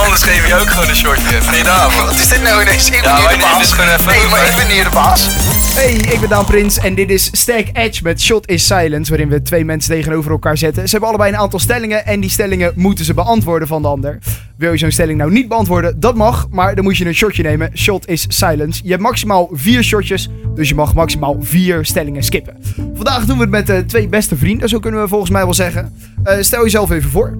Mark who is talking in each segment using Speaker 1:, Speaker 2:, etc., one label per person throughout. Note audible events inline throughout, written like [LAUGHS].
Speaker 1: Anders geven we je ook gewoon een shortje. Goedenavond.
Speaker 2: Wat is dit nou ineens? Ik ben
Speaker 1: Ja,
Speaker 2: hier
Speaker 1: wij
Speaker 2: de
Speaker 1: nemen
Speaker 2: baas.
Speaker 1: dit gewoon even
Speaker 2: nee,
Speaker 1: over.
Speaker 2: maar ik ben hier de baas.
Speaker 3: Hey, ik ben Daan Prins en dit is Stack Edge met Shot is Silence, waarin we twee mensen tegenover elkaar zetten. Ze hebben allebei een aantal stellingen en die stellingen moeten ze beantwoorden van de ander. Wil je zo'n stelling nou niet beantwoorden? Dat mag, maar dan moet je een shotje nemen. Shot is silence. Je hebt maximaal vier shotjes, dus je mag maximaal vier stellingen skippen. Vandaag doen we het met de twee beste vrienden, zo kunnen we volgens mij wel zeggen. Eh, stel jezelf even voor.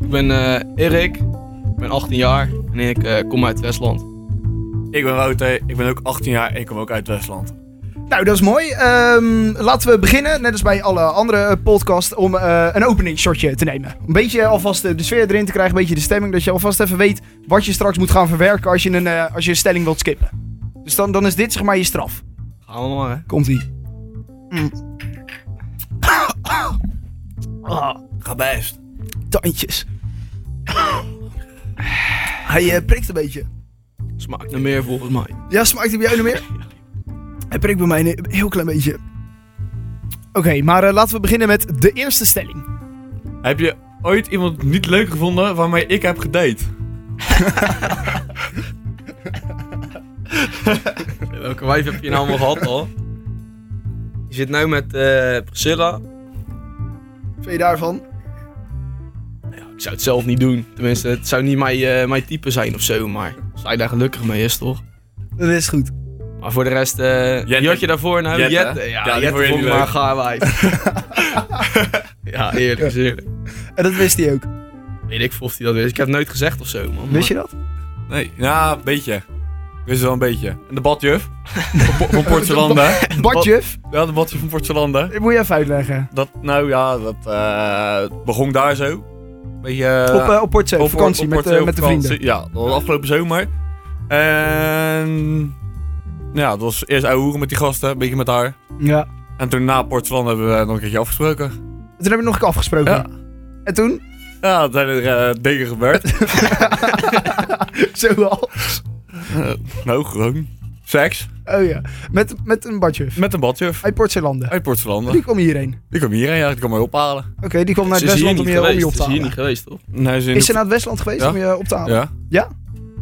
Speaker 4: Ik ben eh, Erik, ik ben 18 jaar en ik eh, kom uit Westland.
Speaker 5: Ik ben Wouter, ik ben ook 18 jaar en ik kom ook uit Westland.
Speaker 3: Nou, dat is mooi. Ehm, laten we beginnen, net als bij alle andere eh, podcasts, om eh, een opening shotje te nemen. Een beetje alvast eh, de sfeer erin te krijgen, een beetje de stemming, dat je alvast even weet wat je straks moet gaan verwerken als je een, eh, als je een stelling wilt skippen. Dus dan, dan is dit zeg maar je straf.
Speaker 4: Gaan we maar, hè?
Speaker 3: Komt-ie.
Speaker 5: Ga best.
Speaker 3: Tandjes. [LAUGHS] Hij eh, prikt een beetje.
Speaker 4: Smaakt naar meer volgens mij.
Speaker 3: Ja, smaakt hij bij jou nog meer? Hij prikt bij mij een heel klein beetje. Oké, maar eh, laten we beginnen met de eerste stelling.
Speaker 5: Heb je ooit iemand niet leuk gevonden waarmee ik heb gedate?
Speaker 4: [LAUGHS] Welke wijf heb je nou allemaal gehad al? Je zit nu met eh, Priscilla.
Speaker 3: Twee daarvan.
Speaker 4: Ja, ik zou het zelf niet doen. Tenminste, het zou niet mijn, eh, mijn type zijn of zo, maar zij daar gelukkig mee is, toch?
Speaker 3: Dat is goed.
Speaker 4: Maar voor de rest, eh
Speaker 5: Jette.
Speaker 4: die had je daarvoor nou?
Speaker 5: Jette.
Speaker 4: Jette.
Speaker 5: Ja,
Speaker 4: Ja,
Speaker 5: die vond
Speaker 4: Jette
Speaker 5: je
Speaker 4: vond
Speaker 5: niet
Speaker 4: maar
Speaker 5: leuk.
Speaker 4: gaar wijf. [LAUGHS] ja, eerlijk is eerlijk.
Speaker 3: En dat wist hij ook.
Speaker 4: Weet ik veel of hij dat wist. Ik heb het nooit gezegd of zo, man.
Speaker 3: Wist je dat?
Speaker 5: Nee, ja, een beetje. Ik wist het wel een beetje. En de [LAUGHS] badjuf? van, Po- van Portselanda.
Speaker 3: Bart Juf,
Speaker 5: Ja, de badjuf van Portselanda.
Speaker 3: dit moet je even uitleggen.
Speaker 5: Dat, nou ja, dat eh, begon daar zo. Beetje... eh,
Speaker 3: op, eh, op Porto, op vakantie
Speaker 5: op
Speaker 3: met, eh,
Speaker 5: Porto
Speaker 3: met de
Speaker 5: vakantie.
Speaker 3: vrienden.
Speaker 5: Ja, dat was afgelopen zomer. En... Ja, dat was eerst ouwe hoeren met die gasten, een beetje met haar.
Speaker 3: Ja.
Speaker 5: En toen na Portselanda hebben we eh, nog een keertje afgesproken.
Speaker 3: Toen hebben we nog een keer afgesproken.
Speaker 5: Ja.
Speaker 3: En toen? [LAUGHS]
Speaker 5: Ja, dat zijn er eh, dingen [LAUGHS] gebeurd.
Speaker 3: Zo al.
Speaker 5: nou, gewoon. Seks.
Speaker 3: Oh ja. Met, met een badjuf.
Speaker 5: Met een badjuf.
Speaker 3: Uit Portselanden.
Speaker 5: Uit Portselanda.
Speaker 3: Die kwam hierheen.
Speaker 5: Die kwam hierheen, ja. Die kwam mij ophalen.
Speaker 3: Oké, die kwam naar
Speaker 4: Ze
Speaker 3: het
Speaker 4: is hier
Speaker 3: Westland
Speaker 4: niet
Speaker 3: om je, om je
Speaker 4: geweest.
Speaker 3: op te
Speaker 4: Ze is hier
Speaker 3: halen.
Speaker 4: niet geweest, toch?
Speaker 5: Nee, ze in
Speaker 3: Is ze
Speaker 5: de-
Speaker 3: naar het Westland geweest
Speaker 5: Ja.
Speaker 3: om je op te halen?
Speaker 5: Ja.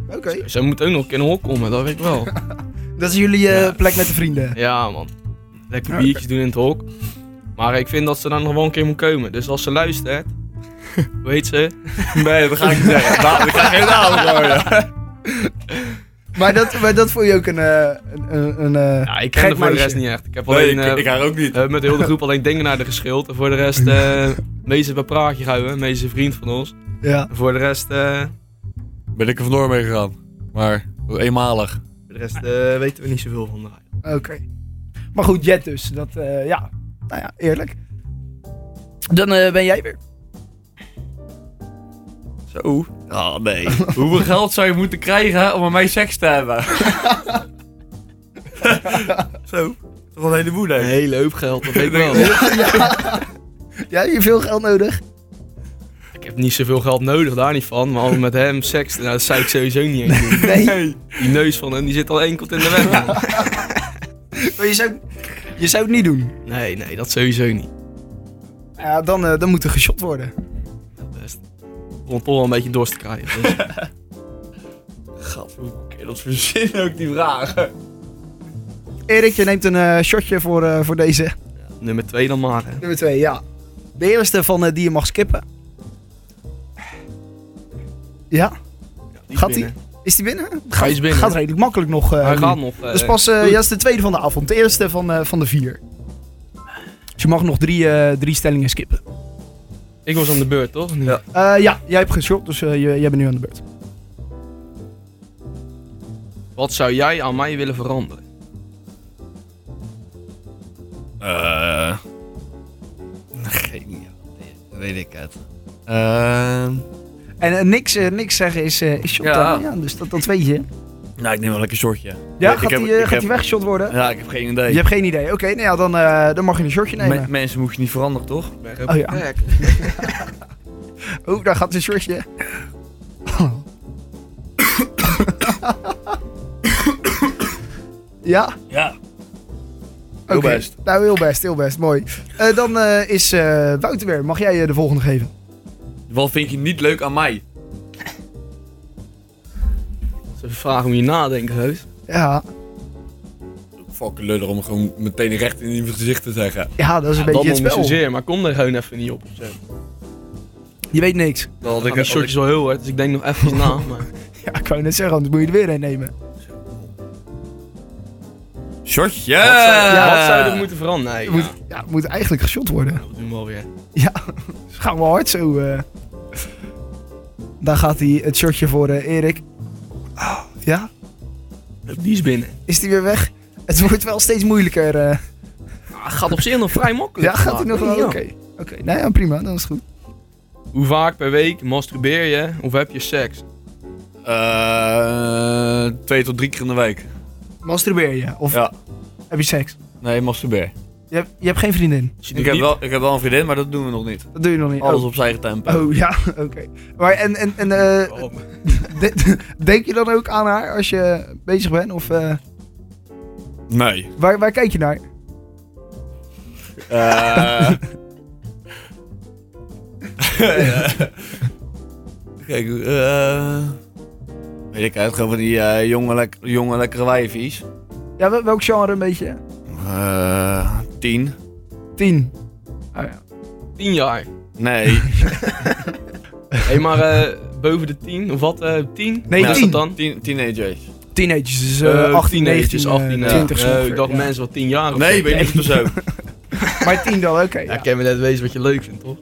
Speaker 3: Oké.
Speaker 4: Zij moet ook nog in een hok komen, dat weet ik wel.
Speaker 3: Dat is jullie eh,
Speaker 4: Ja.
Speaker 3: plek met de vrienden.
Speaker 4: Ja, man. Lekker
Speaker 3: Ja,
Speaker 4: biertjes doen in het hok. Maar ik vind dat ze daar nog wel een keer moet komen. Dus als ze luistert, weet ze.
Speaker 5: Nee, dat ga ik niet zeggen. [LAUGHS] Nou, ik ga geen naam horen.
Speaker 3: Maar dat, maar dat vond je ook een... eh, een, een, een, eh,
Speaker 4: Ja, ik
Speaker 3: Gek
Speaker 4: ken haar voor de
Speaker 3: meisje.
Speaker 4: rest niet echt. Ik
Speaker 5: [LAUGHS]
Speaker 4: heb
Speaker 5: Nee,
Speaker 4: alleen
Speaker 5: ik,
Speaker 4: eh,
Speaker 5: ik haar ook niet.
Speaker 4: eh, met de hele groep alleen dingen naar de geschild. En voor de rest, eh Mees is bij Praatje gehouden. Mees is een vriend van ons.
Speaker 3: ja.
Speaker 4: En voor de rest, eh,
Speaker 5: Ben ik er vandoor mee gegaan. Maar eenmalig.
Speaker 4: voor de rest eh, weten we niet zoveel van haar.
Speaker 3: Oké. Maar goed, Jet dus. Dat, eh, ja. Nou ja, eerlijk. Dan eh, ben jij weer.
Speaker 5: Zo. Oh, nee. [LAUGHS] Hoeveel geld zou je moeten krijgen om aan mij seks te [LAUGHS] hebben? Zo. Toch wel een heleboel,
Speaker 4: Een
Speaker 5: hè?
Speaker 4: hele hoop geld, dat weet ik wel.
Speaker 3: Ja, je hebt veel geld nodig.
Speaker 4: Ik heb niet zoveel geld nodig, daar niet van. Maar met hem seks, nou, dat zou ik sowieso niet eens doen.
Speaker 3: Nee.
Speaker 4: Die neus van hem, die zit al enkelt in de weg. man.
Speaker 3: Maar je zou, je zou het niet doen.
Speaker 4: Nee, nee, dat sowieso niet.
Speaker 3: Ja, dan, eh, dan moet er geshot worden.
Speaker 4: Best. Om toch wel een beetje dorst te
Speaker 3: [LAUGHS]
Speaker 4: krijgen. Dus. Gat, hoe kun je dat verzinnen?
Speaker 5: En ook die vragen.
Speaker 3: Erik, je neemt een eh, shotje voor, eh, voor deze.
Speaker 4: Nummer 2 dan maar. Hè.
Speaker 3: Nummer 2, ja. De eerste van eh, die je mag skippen. Ja,
Speaker 4: Die
Speaker 3: Gaat
Speaker 4: is
Speaker 3: die?
Speaker 4: binnen.
Speaker 3: is die binnen?
Speaker 4: Hij is binnen.
Speaker 3: Gaat redelijk makkelijk nog. eh,
Speaker 4: Hij
Speaker 3: nu.
Speaker 4: gaat nog. eh,
Speaker 3: Dat is pas eh, ja, dat is de tweede van de avond. De eerste van, eh, van de vier. Dus je mag nog drie, eh, drie stellingen skippen.
Speaker 4: Ik was aan de beurt, toch? Ja.
Speaker 3: Eh, ja, jij hebt geshot, dus eh, je- jij bent nu aan de beurt.
Speaker 4: Wat zou jij aan mij willen veranderen?
Speaker 5: Eh. Geen Weet ik het. Ehm.
Speaker 3: En eh, niks, eh, niks zeggen is, eh, is shot.
Speaker 5: Ja.
Speaker 3: eh, ja, dus dat, dat weet je.
Speaker 5: Nou, ik neem wel lekker shortje.
Speaker 3: Ja,
Speaker 5: ik
Speaker 3: gaat
Speaker 5: heb-
Speaker 3: die,
Speaker 5: ik
Speaker 3: eh, gaat
Speaker 5: heb-
Speaker 3: die weggeshot worden?
Speaker 5: Ja, ik heb geen idee.
Speaker 3: Je hebt geen idee. Oké, nou ja, dan, eh, dan mag je een shortje nemen.
Speaker 5: Me- mensen moet je niet veranderen, toch?
Speaker 4: Ik ben
Speaker 3: Oh ja.
Speaker 4: gek.
Speaker 3: Oh, daar gaat een shortje. ja?
Speaker 5: Ja.
Speaker 3: Oké.
Speaker 5: Heel best.
Speaker 3: Nou, heel best, heel best. Mooi. Eh, dan eh, is eh, Wouter weer. Mag jij eh, de volgende geven?
Speaker 5: Wat vind je niet leuk aan mij?
Speaker 4: vraag om je nadenken, heus.
Speaker 3: Ja,
Speaker 5: Fucking lullig om gewoon meteen recht in iemands gezicht te zeggen.
Speaker 3: ja dat is een
Speaker 4: dat
Speaker 3: beetje het
Speaker 4: nog niet
Speaker 3: spel.
Speaker 4: zozeer, maar kom er gewoon even niet op. of zo.
Speaker 3: Je weet niks.
Speaker 5: Dat had
Speaker 4: Ik heb shortjes wel heel hard, dus ik denk nog
Speaker 3: [LAUGHS]
Speaker 4: even na. Maar
Speaker 3: Ja, ik wou net zeggen, anders moet je er weer een nemen.
Speaker 5: Shortje!
Speaker 4: wat zou er moeten veranderen? Nee,
Speaker 3: Eh. Moet,
Speaker 4: ja,
Speaker 3: ja, het moet eigenlijk geshot worden.
Speaker 4: dat doen we alweer.
Speaker 3: Ja, dus gaan we hard zo. eh. Daar gaat hij het shotje voor eh, Erik. Ah, ja,
Speaker 4: Die is binnen.
Speaker 3: is die weer weg? Het wordt wel steeds moeilijker. eh.
Speaker 4: Ah, gaat op zich nog vrij makkelijk.
Speaker 3: Ja, gaat hij
Speaker 4: Maar,
Speaker 3: nog wel?
Speaker 4: nee,
Speaker 3: Oké,
Speaker 4: ja.
Speaker 3: oké. Nou ja, prima, dan is het goed.
Speaker 4: Hoe vaak per week masturbeer je of heb je seks?
Speaker 5: Eh, twee tot drie keer in de week.
Speaker 3: Masturbeer je? Of
Speaker 5: Ja.
Speaker 3: heb je seks?
Speaker 5: Nee, masturbeer.
Speaker 3: Je hebt, je hebt geen vriendin.
Speaker 4: Als je
Speaker 5: Ik
Speaker 4: er
Speaker 5: heb,
Speaker 4: diep-
Speaker 5: wel, ik heb wel een vriendin, maar dat doen we nog niet.
Speaker 3: Dat doe je nog niet.
Speaker 5: Alles
Speaker 3: oh.
Speaker 5: op zijn eigen tempo.
Speaker 3: Oh, ja, [LAUGHS] oké. Maar en, en, en eh,
Speaker 4: Oh,
Speaker 3: [LAUGHS] de- denk je dan ook aan haar als je bezig bent? Of eh,
Speaker 5: Nee.
Speaker 3: waar, waar kijk je naar?
Speaker 5: Eh. [LAUGHS] Kijk, eh. Weet ik uit, gewoon van die eh, jonge, lek- jonge lekkere wijfies.
Speaker 3: Ja, wel- welk genre een beetje?
Speaker 5: Eh, tien.
Speaker 3: Tien. Oh ja.
Speaker 4: Tien jaar.
Speaker 5: Nee.
Speaker 4: Hé, maar eh, boven de tien, of wat? eh tien?
Speaker 3: [LAUGHS] Nee,
Speaker 4: Wat is
Speaker 3: tien.
Speaker 4: dat dan?
Speaker 5: Nou, Tien, teenagers.
Speaker 3: Teenagers, dus eh,
Speaker 4: Eh,
Speaker 3: 18,
Speaker 4: teenagers,
Speaker 3: 19, 18,
Speaker 4: 18, eh,
Speaker 3: 20
Speaker 4: eh,
Speaker 3: ongeveer,
Speaker 4: Ik dacht
Speaker 3: ja.
Speaker 4: mensen wel tien
Speaker 3: Ah,
Speaker 4: jaar of
Speaker 5: Nee,
Speaker 4: zo.
Speaker 5: ben je niet zo.
Speaker 3: [LAUGHS] Maar 10 dan, oké.
Speaker 4: Ja,
Speaker 3: ja.
Speaker 4: ik kan me net wezen wat je leuk vindt, toch?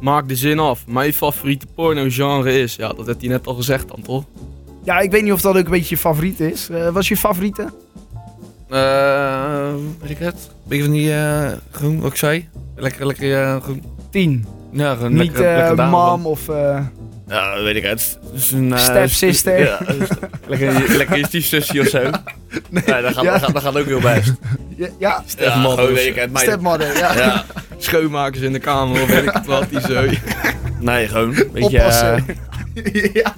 Speaker 4: Maak de zin af. Mijn favoriete porno-genre is... Ja, dat had hij net al gezegd dan, toch?
Speaker 3: Ja, ik weet niet of dat ook een beetje je favoriet is. Eh was je favoriete?
Speaker 5: Eh, weet ik het? Beetje van die, eh, groen, wat ik zei? Lekker, lekker, eh, groen.
Speaker 3: 10.
Speaker 5: Ja, gewoon
Speaker 3: Niet
Speaker 5: lekker, lekker
Speaker 3: eh
Speaker 5: dame
Speaker 3: mam of... eh,
Speaker 5: van- Ja, dat weet ik het. Dus een, eh,
Speaker 3: Stepsister.
Speaker 5: st- Ja, lekker, lekker je stiefzusje of zo. Nee, dat, gaat,
Speaker 3: ja.
Speaker 5: dat, gaat, dat gaat ook heel best.
Speaker 3: ja, ja,
Speaker 5: Ja,
Speaker 4: Stefman.
Speaker 3: dus.
Speaker 5: gewoon weet ik het. meiden.
Speaker 3: stepmother. Ja. [LAUGHS]
Speaker 5: Ja,
Speaker 4: Schoonmakers in de kamer, of weet ik het wat, die zo.
Speaker 5: nee, gewoon. Weet je,
Speaker 3: Oppassen.
Speaker 5: eh,
Speaker 3: ja.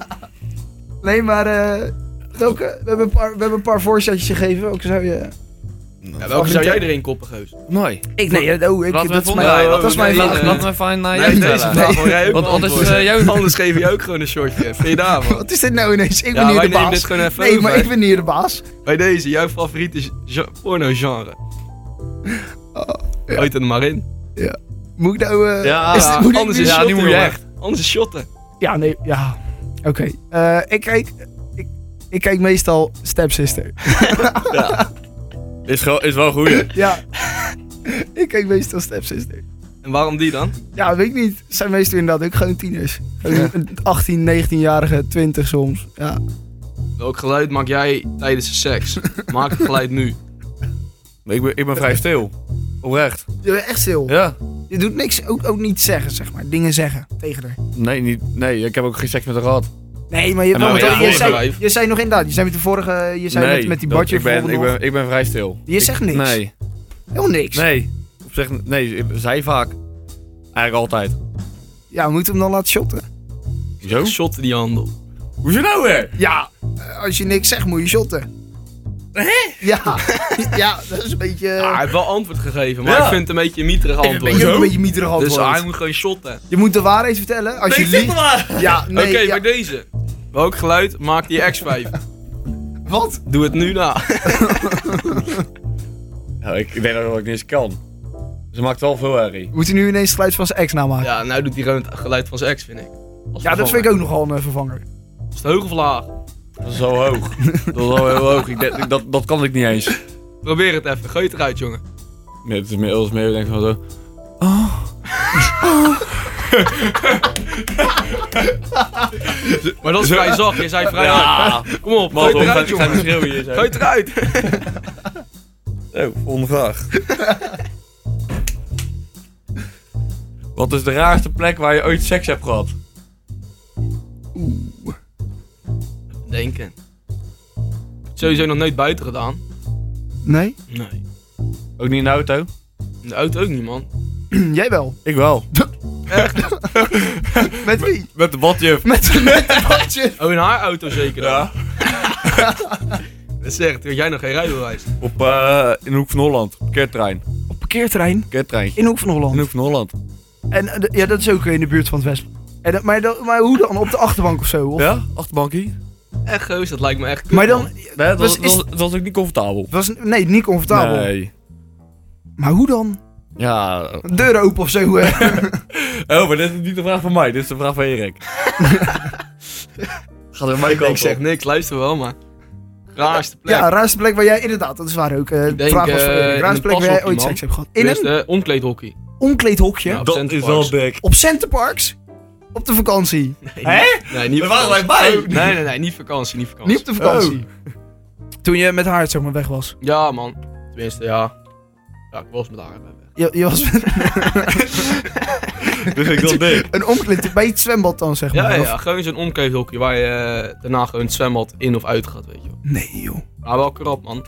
Speaker 3: Nee, maar eh, welke, we, hebben een paar, we hebben een paar voorzetjes gegeven. Welke zou je...
Speaker 4: Ja, welke zou jij erin koppen, Geus?
Speaker 5: mooi.
Speaker 3: Ik, nee, oh, ik,
Speaker 5: Laten we
Speaker 3: dat is
Speaker 5: even
Speaker 3: mijn,
Speaker 4: onderhouden.
Speaker 3: dat is mijn
Speaker 4: Nee,
Speaker 3: vraag.
Speaker 4: nee,
Speaker 5: Laat me even
Speaker 3: eh,
Speaker 5: naar
Speaker 4: Nee,
Speaker 5: jou
Speaker 4: deze
Speaker 5: vertellen.
Speaker 4: vraag wil jij ook
Speaker 5: Want anders,
Speaker 4: beantwoorden.
Speaker 5: eh, jou-
Speaker 4: [LAUGHS] Anders geef je ook gewoon een shortje. Vind je daarvan?
Speaker 3: Wat is dit nou ineens? Ik ben
Speaker 4: Ja,
Speaker 3: hier
Speaker 4: wij
Speaker 3: de
Speaker 4: nemen
Speaker 3: baas.
Speaker 4: dit gewoon even
Speaker 3: nee,
Speaker 4: over,
Speaker 3: maar
Speaker 4: hè.
Speaker 3: ik ben hier de baas.
Speaker 4: Bij deze, jouw favoriete ge- porno-genre.
Speaker 3: Oh, ja.
Speaker 4: Uit het er maar in.
Speaker 3: Moet ik nou... eh,
Speaker 5: Ja,
Speaker 3: is dit- moet ik
Speaker 4: Ah, Anders
Speaker 3: nu-
Speaker 4: is
Speaker 5: Ja, die
Speaker 4: shotten,
Speaker 5: moet je
Speaker 4: jongen.
Speaker 5: echt.
Speaker 4: Anders is shotten.
Speaker 3: Ja, nee, ja. Oké. Eh, ik kijk... Ik, ik kijk meestal Stepsister.
Speaker 5: Is, gewoon- is wel goed.
Speaker 3: [LAUGHS] Ja. ik kijk meestal Stepsister.
Speaker 4: En waarom die dan?
Speaker 3: Ja, weet ik niet. Het zijn meestal inderdaad ook gewoon tieners. Gewoon een 18, 19-jarige, 20 soms. Ja.
Speaker 4: Welk geluid maak jij tijdens de
Speaker 5: [LAUGHS]
Speaker 4: seks? Maak het geluid nu.
Speaker 5: Ik ben, ik ben vrij stil. Oprecht.
Speaker 3: Je bent echt stil.
Speaker 5: Ja.
Speaker 3: Je doet niks, ook, ook niet zeggen, zeg maar. Dingen zeggen tegen haar.
Speaker 5: Nee, niet, nee, ik heb ook geen seks met haar gehad.
Speaker 3: Nee, maar je,
Speaker 5: nou,
Speaker 3: want
Speaker 5: ja,
Speaker 3: je,
Speaker 5: vorige
Speaker 3: zei,
Speaker 4: wijf.
Speaker 3: je zei nog inderdaad, je zei met de vorige, je zei
Speaker 5: nee,
Speaker 3: met, met die
Speaker 5: dat-
Speaker 3: badje
Speaker 5: ik ben, ik,
Speaker 3: bijvoorbeeld
Speaker 5: ben, ik ben vrij stil.
Speaker 3: Je zegt
Speaker 5: Ik-
Speaker 3: niks.
Speaker 5: Nee,
Speaker 3: nog. Heel niks.
Speaker 5: nee. Op zich, nee, zij vaak. Eigenlijk altijd.
Speaker 3: Ja, we moeten hem dan laten shotten.
Speaker 5: Zo?
Speaker 4: Shotten die handel.
Speaker 5: Hoe je nou weer?
Speaker 3: Ja, eh, als je niks zegt, moet je shotten. Hè? Ja. ja, dat is een beetje...
Speaker 4: Ah, hij heeft wel antwoord gegeven, maar
Speaker 5: Ja.
Speaker 4: ik vind het een beetje een mieterig
Speaker 3: ik ben
Speaker 4: antwoord.
Speaker 3: je ook een beetje mieterig
Speaker 4: [LAUGHS] Dus
Speaker 3: antwoord.
Speaker 4: hij moet gewoon shotten.
Speaker 3: Je moet de waarheid vertellen. Als je lie- Ja, nee.
Speaker 4: Oké,
Speaker 3: ja.
Speaker 4: maar deze. Welk geluid maakt die X5?
Speaker 3: Wat?
Speaker 4: Doe het nu na. [LAUGHS]
Speaker 5: Nou, ik, ik denk dat ik niet eens kan. Ze maakt wel veel herrie.
Speaker 3: Moet hij nu ineens het geluid van zijn ex namaken? Ja,
Speaker 4: Ja, nou doet hij gewoon het geluid van zijn ex, vind ik. Als
Speaker 3: dat vind ik ook nogal een eh, vervanger.
Speaker 4: Is het hoog of laag?
Speaker 5: Dat is zo
Speaker 4: [LAUGHS]
Speaker 5: hoog. dat is wel heel hoog. Ik denk- ik- dat, dat kan ik niet eens.
Speaker 4: Probeer het even. Gooi het eruit, jongen.
Speaker 5: Nee, het is meer, het is meer denk ik van zo. [LAUGHS]
Speaker 4: Maar dat is vrij zacht. Je zei vrij hard.
Speaker 5: Ja,
Speaker 4: Kom op,
Speaker 5: man,
Speaker 4: gooi het
Speaker 5: Ah, ik
Speaker 4: eruit,
Speaker 5: ga
Speaker 4: jongen.
Speaker 5: me schreeuwen hier zo.
Speaker 4: Gooi het eruit. [LAUGHS]
Speaker 5: Zo, volgende vraag. Wat is de raarste plek waar je ooit seks hebt gehad?
Speaker 4: Denken. Sowieso nog nooit buiten gedaan.
Speaker 3: Nee?
Speaker 4: Nee.
Speaker 5: Ook niet in de auto?
Speaker 4: In de auto ook niet, man.
Speaker 3: [CLEARS THROAT] Jij wel.
Speaker 5: Ik
Speaker 4: [LAUGHS]
Speaker 5: wel.
Speaker 3: Met [LAUGHS] wie?
Speaker 5: Met de badjuf.
Speaker 3: Met, met een badje.
Speaker 4: Oh, in haar auto zeker dan?
Speaker 5: Ja.
Speaker 4: [LAUGHS] Dat zegt, want jij nog geen rijbewijs.
Speaker 5: Op, eh, in de Hoek van Holland. Keertrein.
Speaker 3: Op parkeerterrein
Speaker 5: Keertrein.
Speaker 3: in Hoek van Holland.
Speaker 5: In de Hoek van Holland.
Speaker 3: En eh, d- ja, eh, dat is ook in de buurt van het West. En dat, maar, dat, maar hoe dan? Op de achterbank of zo? Of?
Speaker 5: Ja? Achterbankie?
Speaker 3: Eh,
Speaker 4: echo's, dat lijkt me echt kut,
Speaker 3: Maar dan,
Speaker 4: man.
Speaker 5: Nee, dat,
Speaker 3: Was-
Speaker 5: was,
Speaker 3: is-
Speaker 5: dat, was- dat was ook niet comfortabel.
Speaker 3: was, nee, niet comfortabel.
Speaker 5: Nee.
Speaker 3: Maar hoe dan?
Speaker 5: Ja.
Speaker 3: Deuren open of zo. eh.
Speaker 5: Oh, maar dit is niet de vraag van mij, dit is de vraag van
Speaker 3: [LAUGHS]
Speaker 5: Erik. Gaat er mij
Speaker 4: Ik,
Speaker 5: kant
Speaker 4: zeg
Speaker 5: zeg.
Speaker 4: niks, luister wel, maar. Raarste
Speaker 3: [LAUGHS]
Speaker 4: plek.
Speaker 3: ja, raarste plek waar jij inderdaad, dat is waar ook. eh,
Speaker 4: Ik denk,
Speaker 3: vraag was
Speaker 4: eh,
Speaker 3: van
Speaker 4: in
Speaker 3: Erik.
Speaker 4: een
Speaker 3: Raarste plek waar jij
Speaker 4: pashokje,
Speaker 3: ooit
Speaker 4: man.
Speaker 3: seks hebt gehad. In
Speaker 4: Tenminste,
Speaker 3: een
Speaker 4: eh, omkleedhockey.
Speaker 3: omkleedhokje.
Speaker 4: Ja.
Speaker 5: Dat is wel dik. [LAUGHS]
Speaker 3: Op Centerparks. Op de vakantie.
Speaker 4: Nee,
Speaker 5: Hè?
Speaker 4: niet- Nee, niet
Speaker 5: Daar waren
Speaker 4: vakantie.
Speaker 5: wij bij.
Speaker 4: Oh, Nee, nee, nee, niet vakantie, niet vakantie.
Speaker 3: Niet op de vakantie. Oh. Toen je met haar zeg maar weg was.
Speaker 4: Ja, man. Tenminste, ja. Ja, ik was met haar.
Speaker 3: Je, je was [LAUGHS] met
Speaker 5: Dus ik dat dik.
Speaker 3: een omkleed bij het zwembad dan zeg maar.
Speaker 4: Ja, ja,
Speaker 3: of-
Speaker 4: ja, gewoon zo'n omkleedhokje waar je eh, daarna gewoon het zwembad in of uit gaat, weet je wel.
Speaker 3: Nee joh.
Speaker 4: Maar wel krap, man.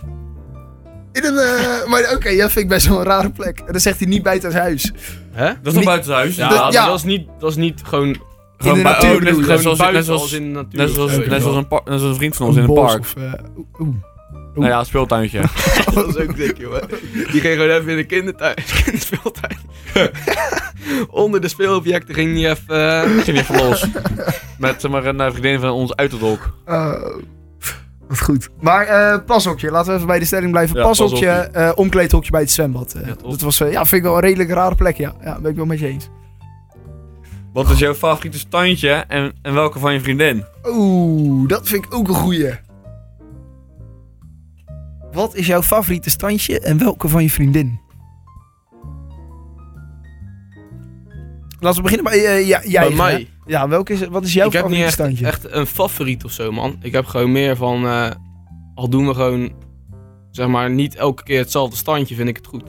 Speaker 3: In een, eh, maar oké, ja, vind ik best wel een rare plek. En dan zegt hij niet bij het huis.
Speaker 4: Hè?
Speaker 5: Dat is
Speaker 3: Niet-
Speaker 5: toch buiten huis?
Speaker 4: Ja,
Speaker 3: Dat-
Speaker 4: dat,
Speaker 3: ja.
Speaker 4: dat is niet, dat is niet gewoon,
Speaker 5: Gewoon
Speaker 3: in de
Speaker 5: bui-
Speaker 3: natuur
Speaker 5: oh, net-
Speaker 3: bedoel je?
Speaker 5: net
Speaker 4: gewoon
Speaker 5: zoals-
Speaker 4: buiten
Speaker 5: Net zoals
Speaker 4: als in de natuur.
Speaker 5: net zoals-
Speaker 4: Ja, weet
Speaker 5: net
Speaker 4: je
Speaker 5: zoals
Speaker 4: wel.
Speaker 5: een par- net zoals een vriend van ons in een
Speaker 3: bos
Speaker 5: park.
Speaker 3: Of, eh, oeh.
Speaker 5: Nou ja, speeltuintje.
Speaker 3: [LAUGHS]
Speaker 4: Dat is ook dik, joh. Die ging gewoon even in de kindertuin, [LAUGHS] kinderspeeltuin. Onder de speelobjecten ging hij even... eh,
Speaker 5: Ging weer van los. Met zeg maar, een eh, vriendin van ons uit het hok.
Speaker 3: Oh, wat goed. Maar eh pashokje, laten we even bij de stelling blijven.
Speaker 5: Ja,
Speaker 3: pashokje,
Speaker 5: pashokje.
Speaker 3: eh, omkleedhokje bij het zwembad. Eh,
Speaker 4: Ja, toch?
Speaker 3: dat was, eh, ja, vind ik wel een redelijk rare plek, ja. Ja, ben ik wel met je eens.
Speaker 5: Wat is jouw favoriete standje en, en welke van je
Speaker 3: [LAUGHS]
Speaker 5: vriendin?
Speaker 3: Oeh, dat vind ik ook een goeie. Wat is jouw favoriete standje en welke van je vriendin? Laten we beginnen bij eh, ja, jij.
Speaker 4: bij
Speaker 3: hè?
Speaker 4: mij.
Speaker 3: Ja, welke is, wat is jouw
Speaker 4: ik heb niet
Speaker 3: favoriete
Speaker 4: echt,
Speaker 3: standje?
Speaker 4: echt een favoriet of zo, man. Ik heb gewoon meer van... eh, al doen we gewoon, zeg maar, niet elke keer hetzelfde standje, vind ik het goed.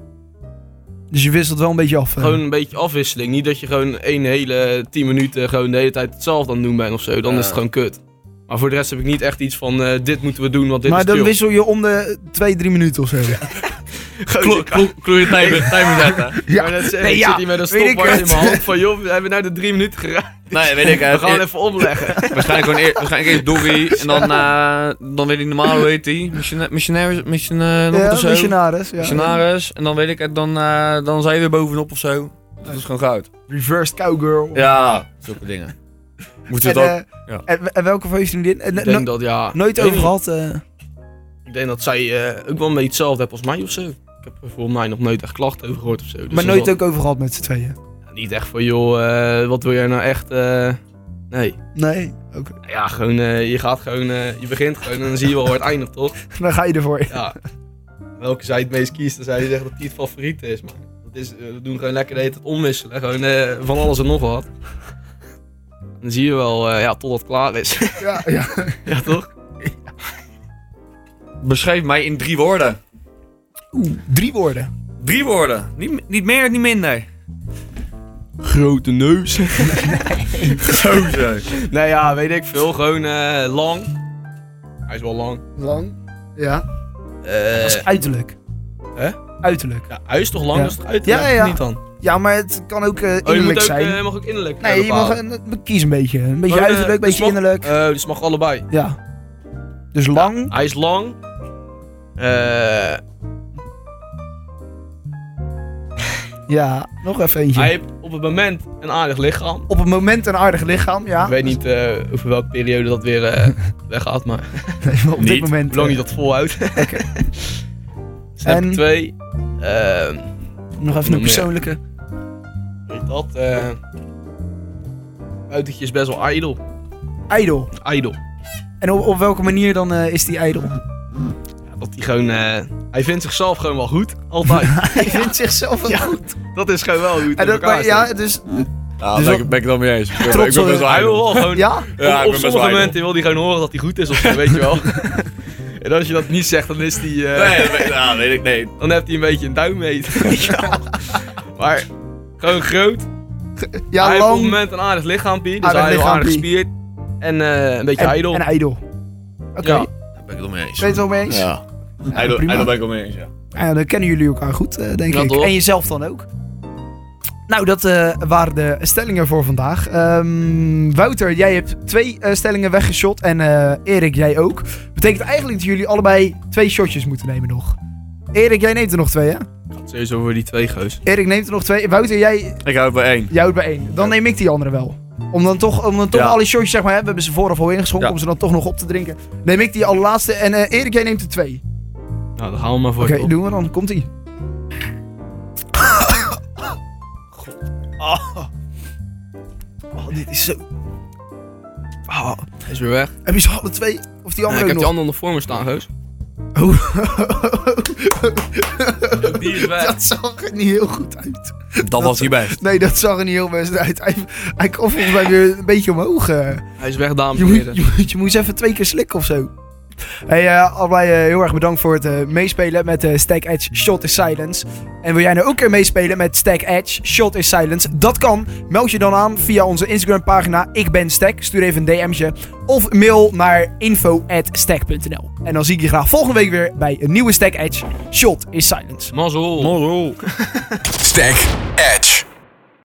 Speaker 3: Dus je wisselt wel een beetje af. eh.
Speaker 4: Gewoon een beetje afwisseling. Niet dat je gewoon één hele tien minuten gewoon de hele tijd hetzelfde aan het doen bent of zo. Dan
Speaker 5: Ja.
Speaker 4: is het gewoon kut. Maar voor de rest heb ik niet echt iets van, eh, dit moeten we doen, want dit
Speaker 3: maar
Speaker 4: is
Speaker 3: dan
Speaker 4: chill.
Speaker 3: wissel je om de twee, drie minuten of zo.
Speaker 4: Gewoon, ik-
Speaker 5: Kloeien timer, timer zetten.
Speaker 4: ik wou net zeggen,
Speaker 3: Nee,
Speaker 4: ik
Speaker 3: ja,
Speaker 4: zit hier met een
Speaker 3: weet ik
Speaker 4: stopwatch in
Speaker 3: het.
Speaker 4: mijn hand van, joh, we hebben nou de drie minuten geraakt.
Speaker 5: Nee, weet ik.
Speaker 4: We gaan
Speaker 5: eh,
Speaker 4: even opleggen.
Speaker 5: Waarschijnlijk, gewoon eer, waarschijnlijk eerst Doggy en
Speaker 3: [LAUGHS]
Speaker 5: dan, eh dan weet ik normaal hoe heet die? Missiona- Missionaris, mission, eh, nog wat
Speaker 3: ja,
Speaker 5: of zo.
Speaker 3: missionaris. Ja.
Speaker 5: Missionaris. En dan weet ik het, dan, eh dan zijn we bovenop of zo. Dat is gewoon goud.
Speaker 3: Reversed cowgirl.
Speaker 5: Ja, zulke [LAUGHS] dingen. Moeten
Speaker 3: En,
Speaker 5: we dat?
Speaker 3: eh,
Speaker 5: ja.
Speaker 3: en, en welke van je vriendin? En,
Speaker 4: Ik
Speaker 3: no-
Speaker 4: denk Dus dat, ja...
Speaker 3: nooit
Speaker 4: ik weet
Speaker 3: over
Speaker 4: niet.
Speaker 3: gehad. eh.
Speaker 4: Ik denk dat zij eh, ook wel een beetje hetzelfde hebt als mij of zo. Ik heb er volgens mij nog nooit echt klachten over gehoord of zo. Dus
Speaker 3: maar
Speaker 4: dat
Speaker 3: nooit
Speaker 4: is
Speaker 3: ook over gehad met z'n tweeën.
Speaker 4: wel- Niet echt van, joh, eh, wat wil jij nou echt... eh, Nee.
Speaker 3: Nee. Oké.
Speaker 4: Ja, gewoon, eh, je gaat gewoon, eh, je begint gewoon en dan zie je wel waar het eindigt, toch?
Speaker 3: Dan ga je ervoor.
Speaker 4: Ja. Welke zij het meest kiest, dan zou je zeggen dat die het favoriete is, maar dat is, eh, we doen gewoon lekker de hele tijd omwisselen, gewoon eh, van alles en nog wat. Dan zie je wel, eh, ja, totdat het klaar is. [LAUGHS]
Speaker 3: Ja, ja.
Speaker 4: [LAUGHS] ja, toch?
Speaker 3: eh,
Speaker 5: Beschrijf mij in drie woorden.
Speaker 3: Oeh, drie woorden.
Speaker 5: Drie woorden. Niet, m- niet meer, niet minder.
Speaker 4: Grote neus.
Speaker 5: [LAUGHS]
Speaker 4: [LAUGHS]
Speaker 5: Zo zo.
Speaker 4: nou ja, weet ik veel, gewoon eh, lang. Hij is wel lang.
Speaker 3: Lang. Ja.
Speaker 4: Eh,
Speaker 3: Dat is uiterlijk.
Speaker 4: hè?
Speaker 3: Uiterlijk.
Speaker 4: ja, hij is toch lang
Speaker 3: Ja.
Speaker 4: dat is het uit?
Speaker 3: Ja, ja, ja.
Speaker 4: Niet dan.
Speaker 3: Ja, maar het kan ook eh,
Speaker 4: Oh, je moet
Speaker 3: innerlijk
Speaker 4: ook,
Speaker 3: zijn.
Speaker 4: eh, mag ook innerlijk eh,
Speaker 3: nee, je mag
Speaker 4: bepalen.
Speaker 3: een, kies een beetje. Een beetje
Speaker 4: Maar, eh,
Speaker 3: uiterlijk, een
Speaker 4: dus
Speaker 3: beetje
Speaker 4: mag-
Speaker 3: innerlijk.
Speaker 4: eh, dus mag allebei.
Speaker 3: ja. Dus lang.
Speaker 4: Hij is lang. Eh,
Speaker 3: Ja. Nog even eentje.
Speaker 4: hij heeft op het moment een aardig lichaam.
Speaker 3: Op het moment een aardig lichaam, ja.
Speaker 4: Ik weet niet eh, over welke periode dat weer eh, weggaat, maar
Speaker 3: [LAUGHS] op dit
Speaker 5: Niet.
Speaker 3: moment.
Speaker 4: hoe lang
Speaker 3: eh,
Speaker 4: je dat volhoudt. Oké. [LAUGHS]
Speaker 3: En-
Speaker 4: twee. Ehm,
Speaker 3: Nog even
Speaker 4: Nog
Speaker 3: een
Speaker 4: meer.
Speaker 3: persoonlijke.
Speaker 4: weet je dat? eh buitentje is best wel idol.
Speaker 3: Idol.
Speaker 4: Idol.
Speaker 3: En op, op welke manier dan eh, is die
Speaker 4: [LAUGHS]
Speaker 3: idol?
Speaker 4: Ja, dat hij gewoon... eh, hij vindt zichzelf gewoon wel goed.
Speaker 3: [LAUGHS]
Speaker 4: Altijd.
Speaker 3: Hij vindt zichzelf wel
Speaker 4: Ja.
Speaker 3: goed.
Speaker 4: dat is gewoon wel goed.
Speaker 3: En dat, maar, ja, dus,
Speaker 5: Ja,
Speaker 3: Dus
Speaker 5: ben,
Speaker 3: wat-
Speaker 5: ik, ben ik het dan mee eens. Ik ben,
Speaker 3: Trots
Speaker 5: ik ben
Speaker 3: op-
Speaker 5: best wel
Speaker 4: Hij wil
Speaker 5: ijdel.
Speaker 4: wel gewoon
Speaker 3: ja?
Speaker 5: Ja, ik
Speaker 4: op
Speaker 5: ben best
Speaker 4: op
Speaker 5: wel
Speaker 4: sommige
Speaker 5: ijdel.
Speaker 4: momenten wil hij gewoon horen dat hij goed is of zo, weet je
Speaker 3: [LAUGHS]
Speaker 4: wel. en als je dat niet zegt, dan is die, eh,
Speaker 5: Nee, dat weet- ja, weet ik, nee.
Speaker 4: dan heeft hij een beetje een duim
Speaker 3: [LAUGHS]
Speaker 4: mee. [LAUGHS] Maar gewoon groot.
Speaker 3: Ja,
Speaker 4: hij heeft op
Speaker 3: lang
Speaker 4: het moment een aardig lichaampje, dus
Speaker 3: Aardig
Speaker 4: hij is wel aardig
Speaker 3: lichaampie.
Speaker 4: gespierd. En eh, een beetje
Speaker 3: en,
Speaker 4: ijdel.
Speaker 3: en idol. Oké,
Speaker 4: Ja.
Speaker 5: Daar
Speaker 3: ben
Speaker 5: ben ik het wel mee eens.
Speaker 3: je het wel mee eens?
Speaker 5: Ja.
Speaker 3: Ja,
Speaker 5: Ijdel,
Speaker 3: prima.
Speaker 5: ijdel ben ik wel mee eens, ja.
Speaker 3: Ja, dan kennen jullie elkaar goed, eh, denk
Speaker 4: Ja,
Speaker 3: ik.
Speaker 4: toch?
Speaker 3: En jezelf dan ook. Nou, dat eh, waren de stellingen voor vandaag. Ehm, Wouter, jij hebt twee eh, stellingen weggeschot. En eh, Erik, jij ook. Betekent eigenlijk dat jullie allebei twee shotjes moeten nemen nog. Erik, jij neemt er nog twee, hè?
Speaker 4: Sowieso voor die twee geus.
Speaker 3: Erik neemt er nog twee. Wouter, jij,
Speaker 5: Ik hou het bij één.
Speaker 3: jij houdt bij één. Dan neem ik die andere wel. Om dan toch, om dan toch
Speaker 5: Ja.
Speaker 3: alle shotjes, zeg maar, hè, we hebben ze vooraf al ingeschonken,
Speaker 5: Ja.
Speaker 3: om ze dan toch nog op te drinken. Neem ik die allerlaatste en eh, Erik, jij neemt er twee.
Speaker 4: Nou, dan gaan we maar voor
Speaker 3: Oké,
Speaker 4: je op.
Speaker 3: doen we dan. Komt-ie. Oh. dit is zo... Oh,
Speaker 4: Hij Is weer weg.
Speaker 3: heb je ze alle twee? Of die
Speaker 4: Eh,
Speaker 3: andere ook
Speaker 4: ik heb die
Speaker 3: nog? Oh.
Speaker 4: andere nog voor me staan, heus.
Speaker 3: [LAUGHS]
Speaker 4: Die is
Speaker 3: Dat zag er niet heel goed uit.
Speaker 5: Dat was hij best.
Speaker 3: Nee, dat zag er niet heel best uit. Hij, hij kwam volgens mij weer een beetje omhoog. eh.
Speaker 4: Hij is weg, dames
Speaker 3: Je
Speaker 4: en
Speaker 3: moet,
Speaker 4: heren.
Speaker 3: je, moet, je moet eens even twee keer slikken of zo. Hey, eh, allebei eh, heel erg bedankt voor het eh, meespelen met eh Stack Edge Shot is Silence. En wil jij nou ook een keer meespelen met Stack Edge Shot is Silence? Dat kan. Meld je dan aan via onze Instagram pagina Ik ben Stack. Stuur even een DM'tje. Of mail naar info.stack.nl En dan zie ik je graag volgende week weer bij een nieuwe Stack Edge Shot is Silence.
Speaker 4: Mazzel.
Speaker 5: Morrel.
Speaker 1: Stack Edge.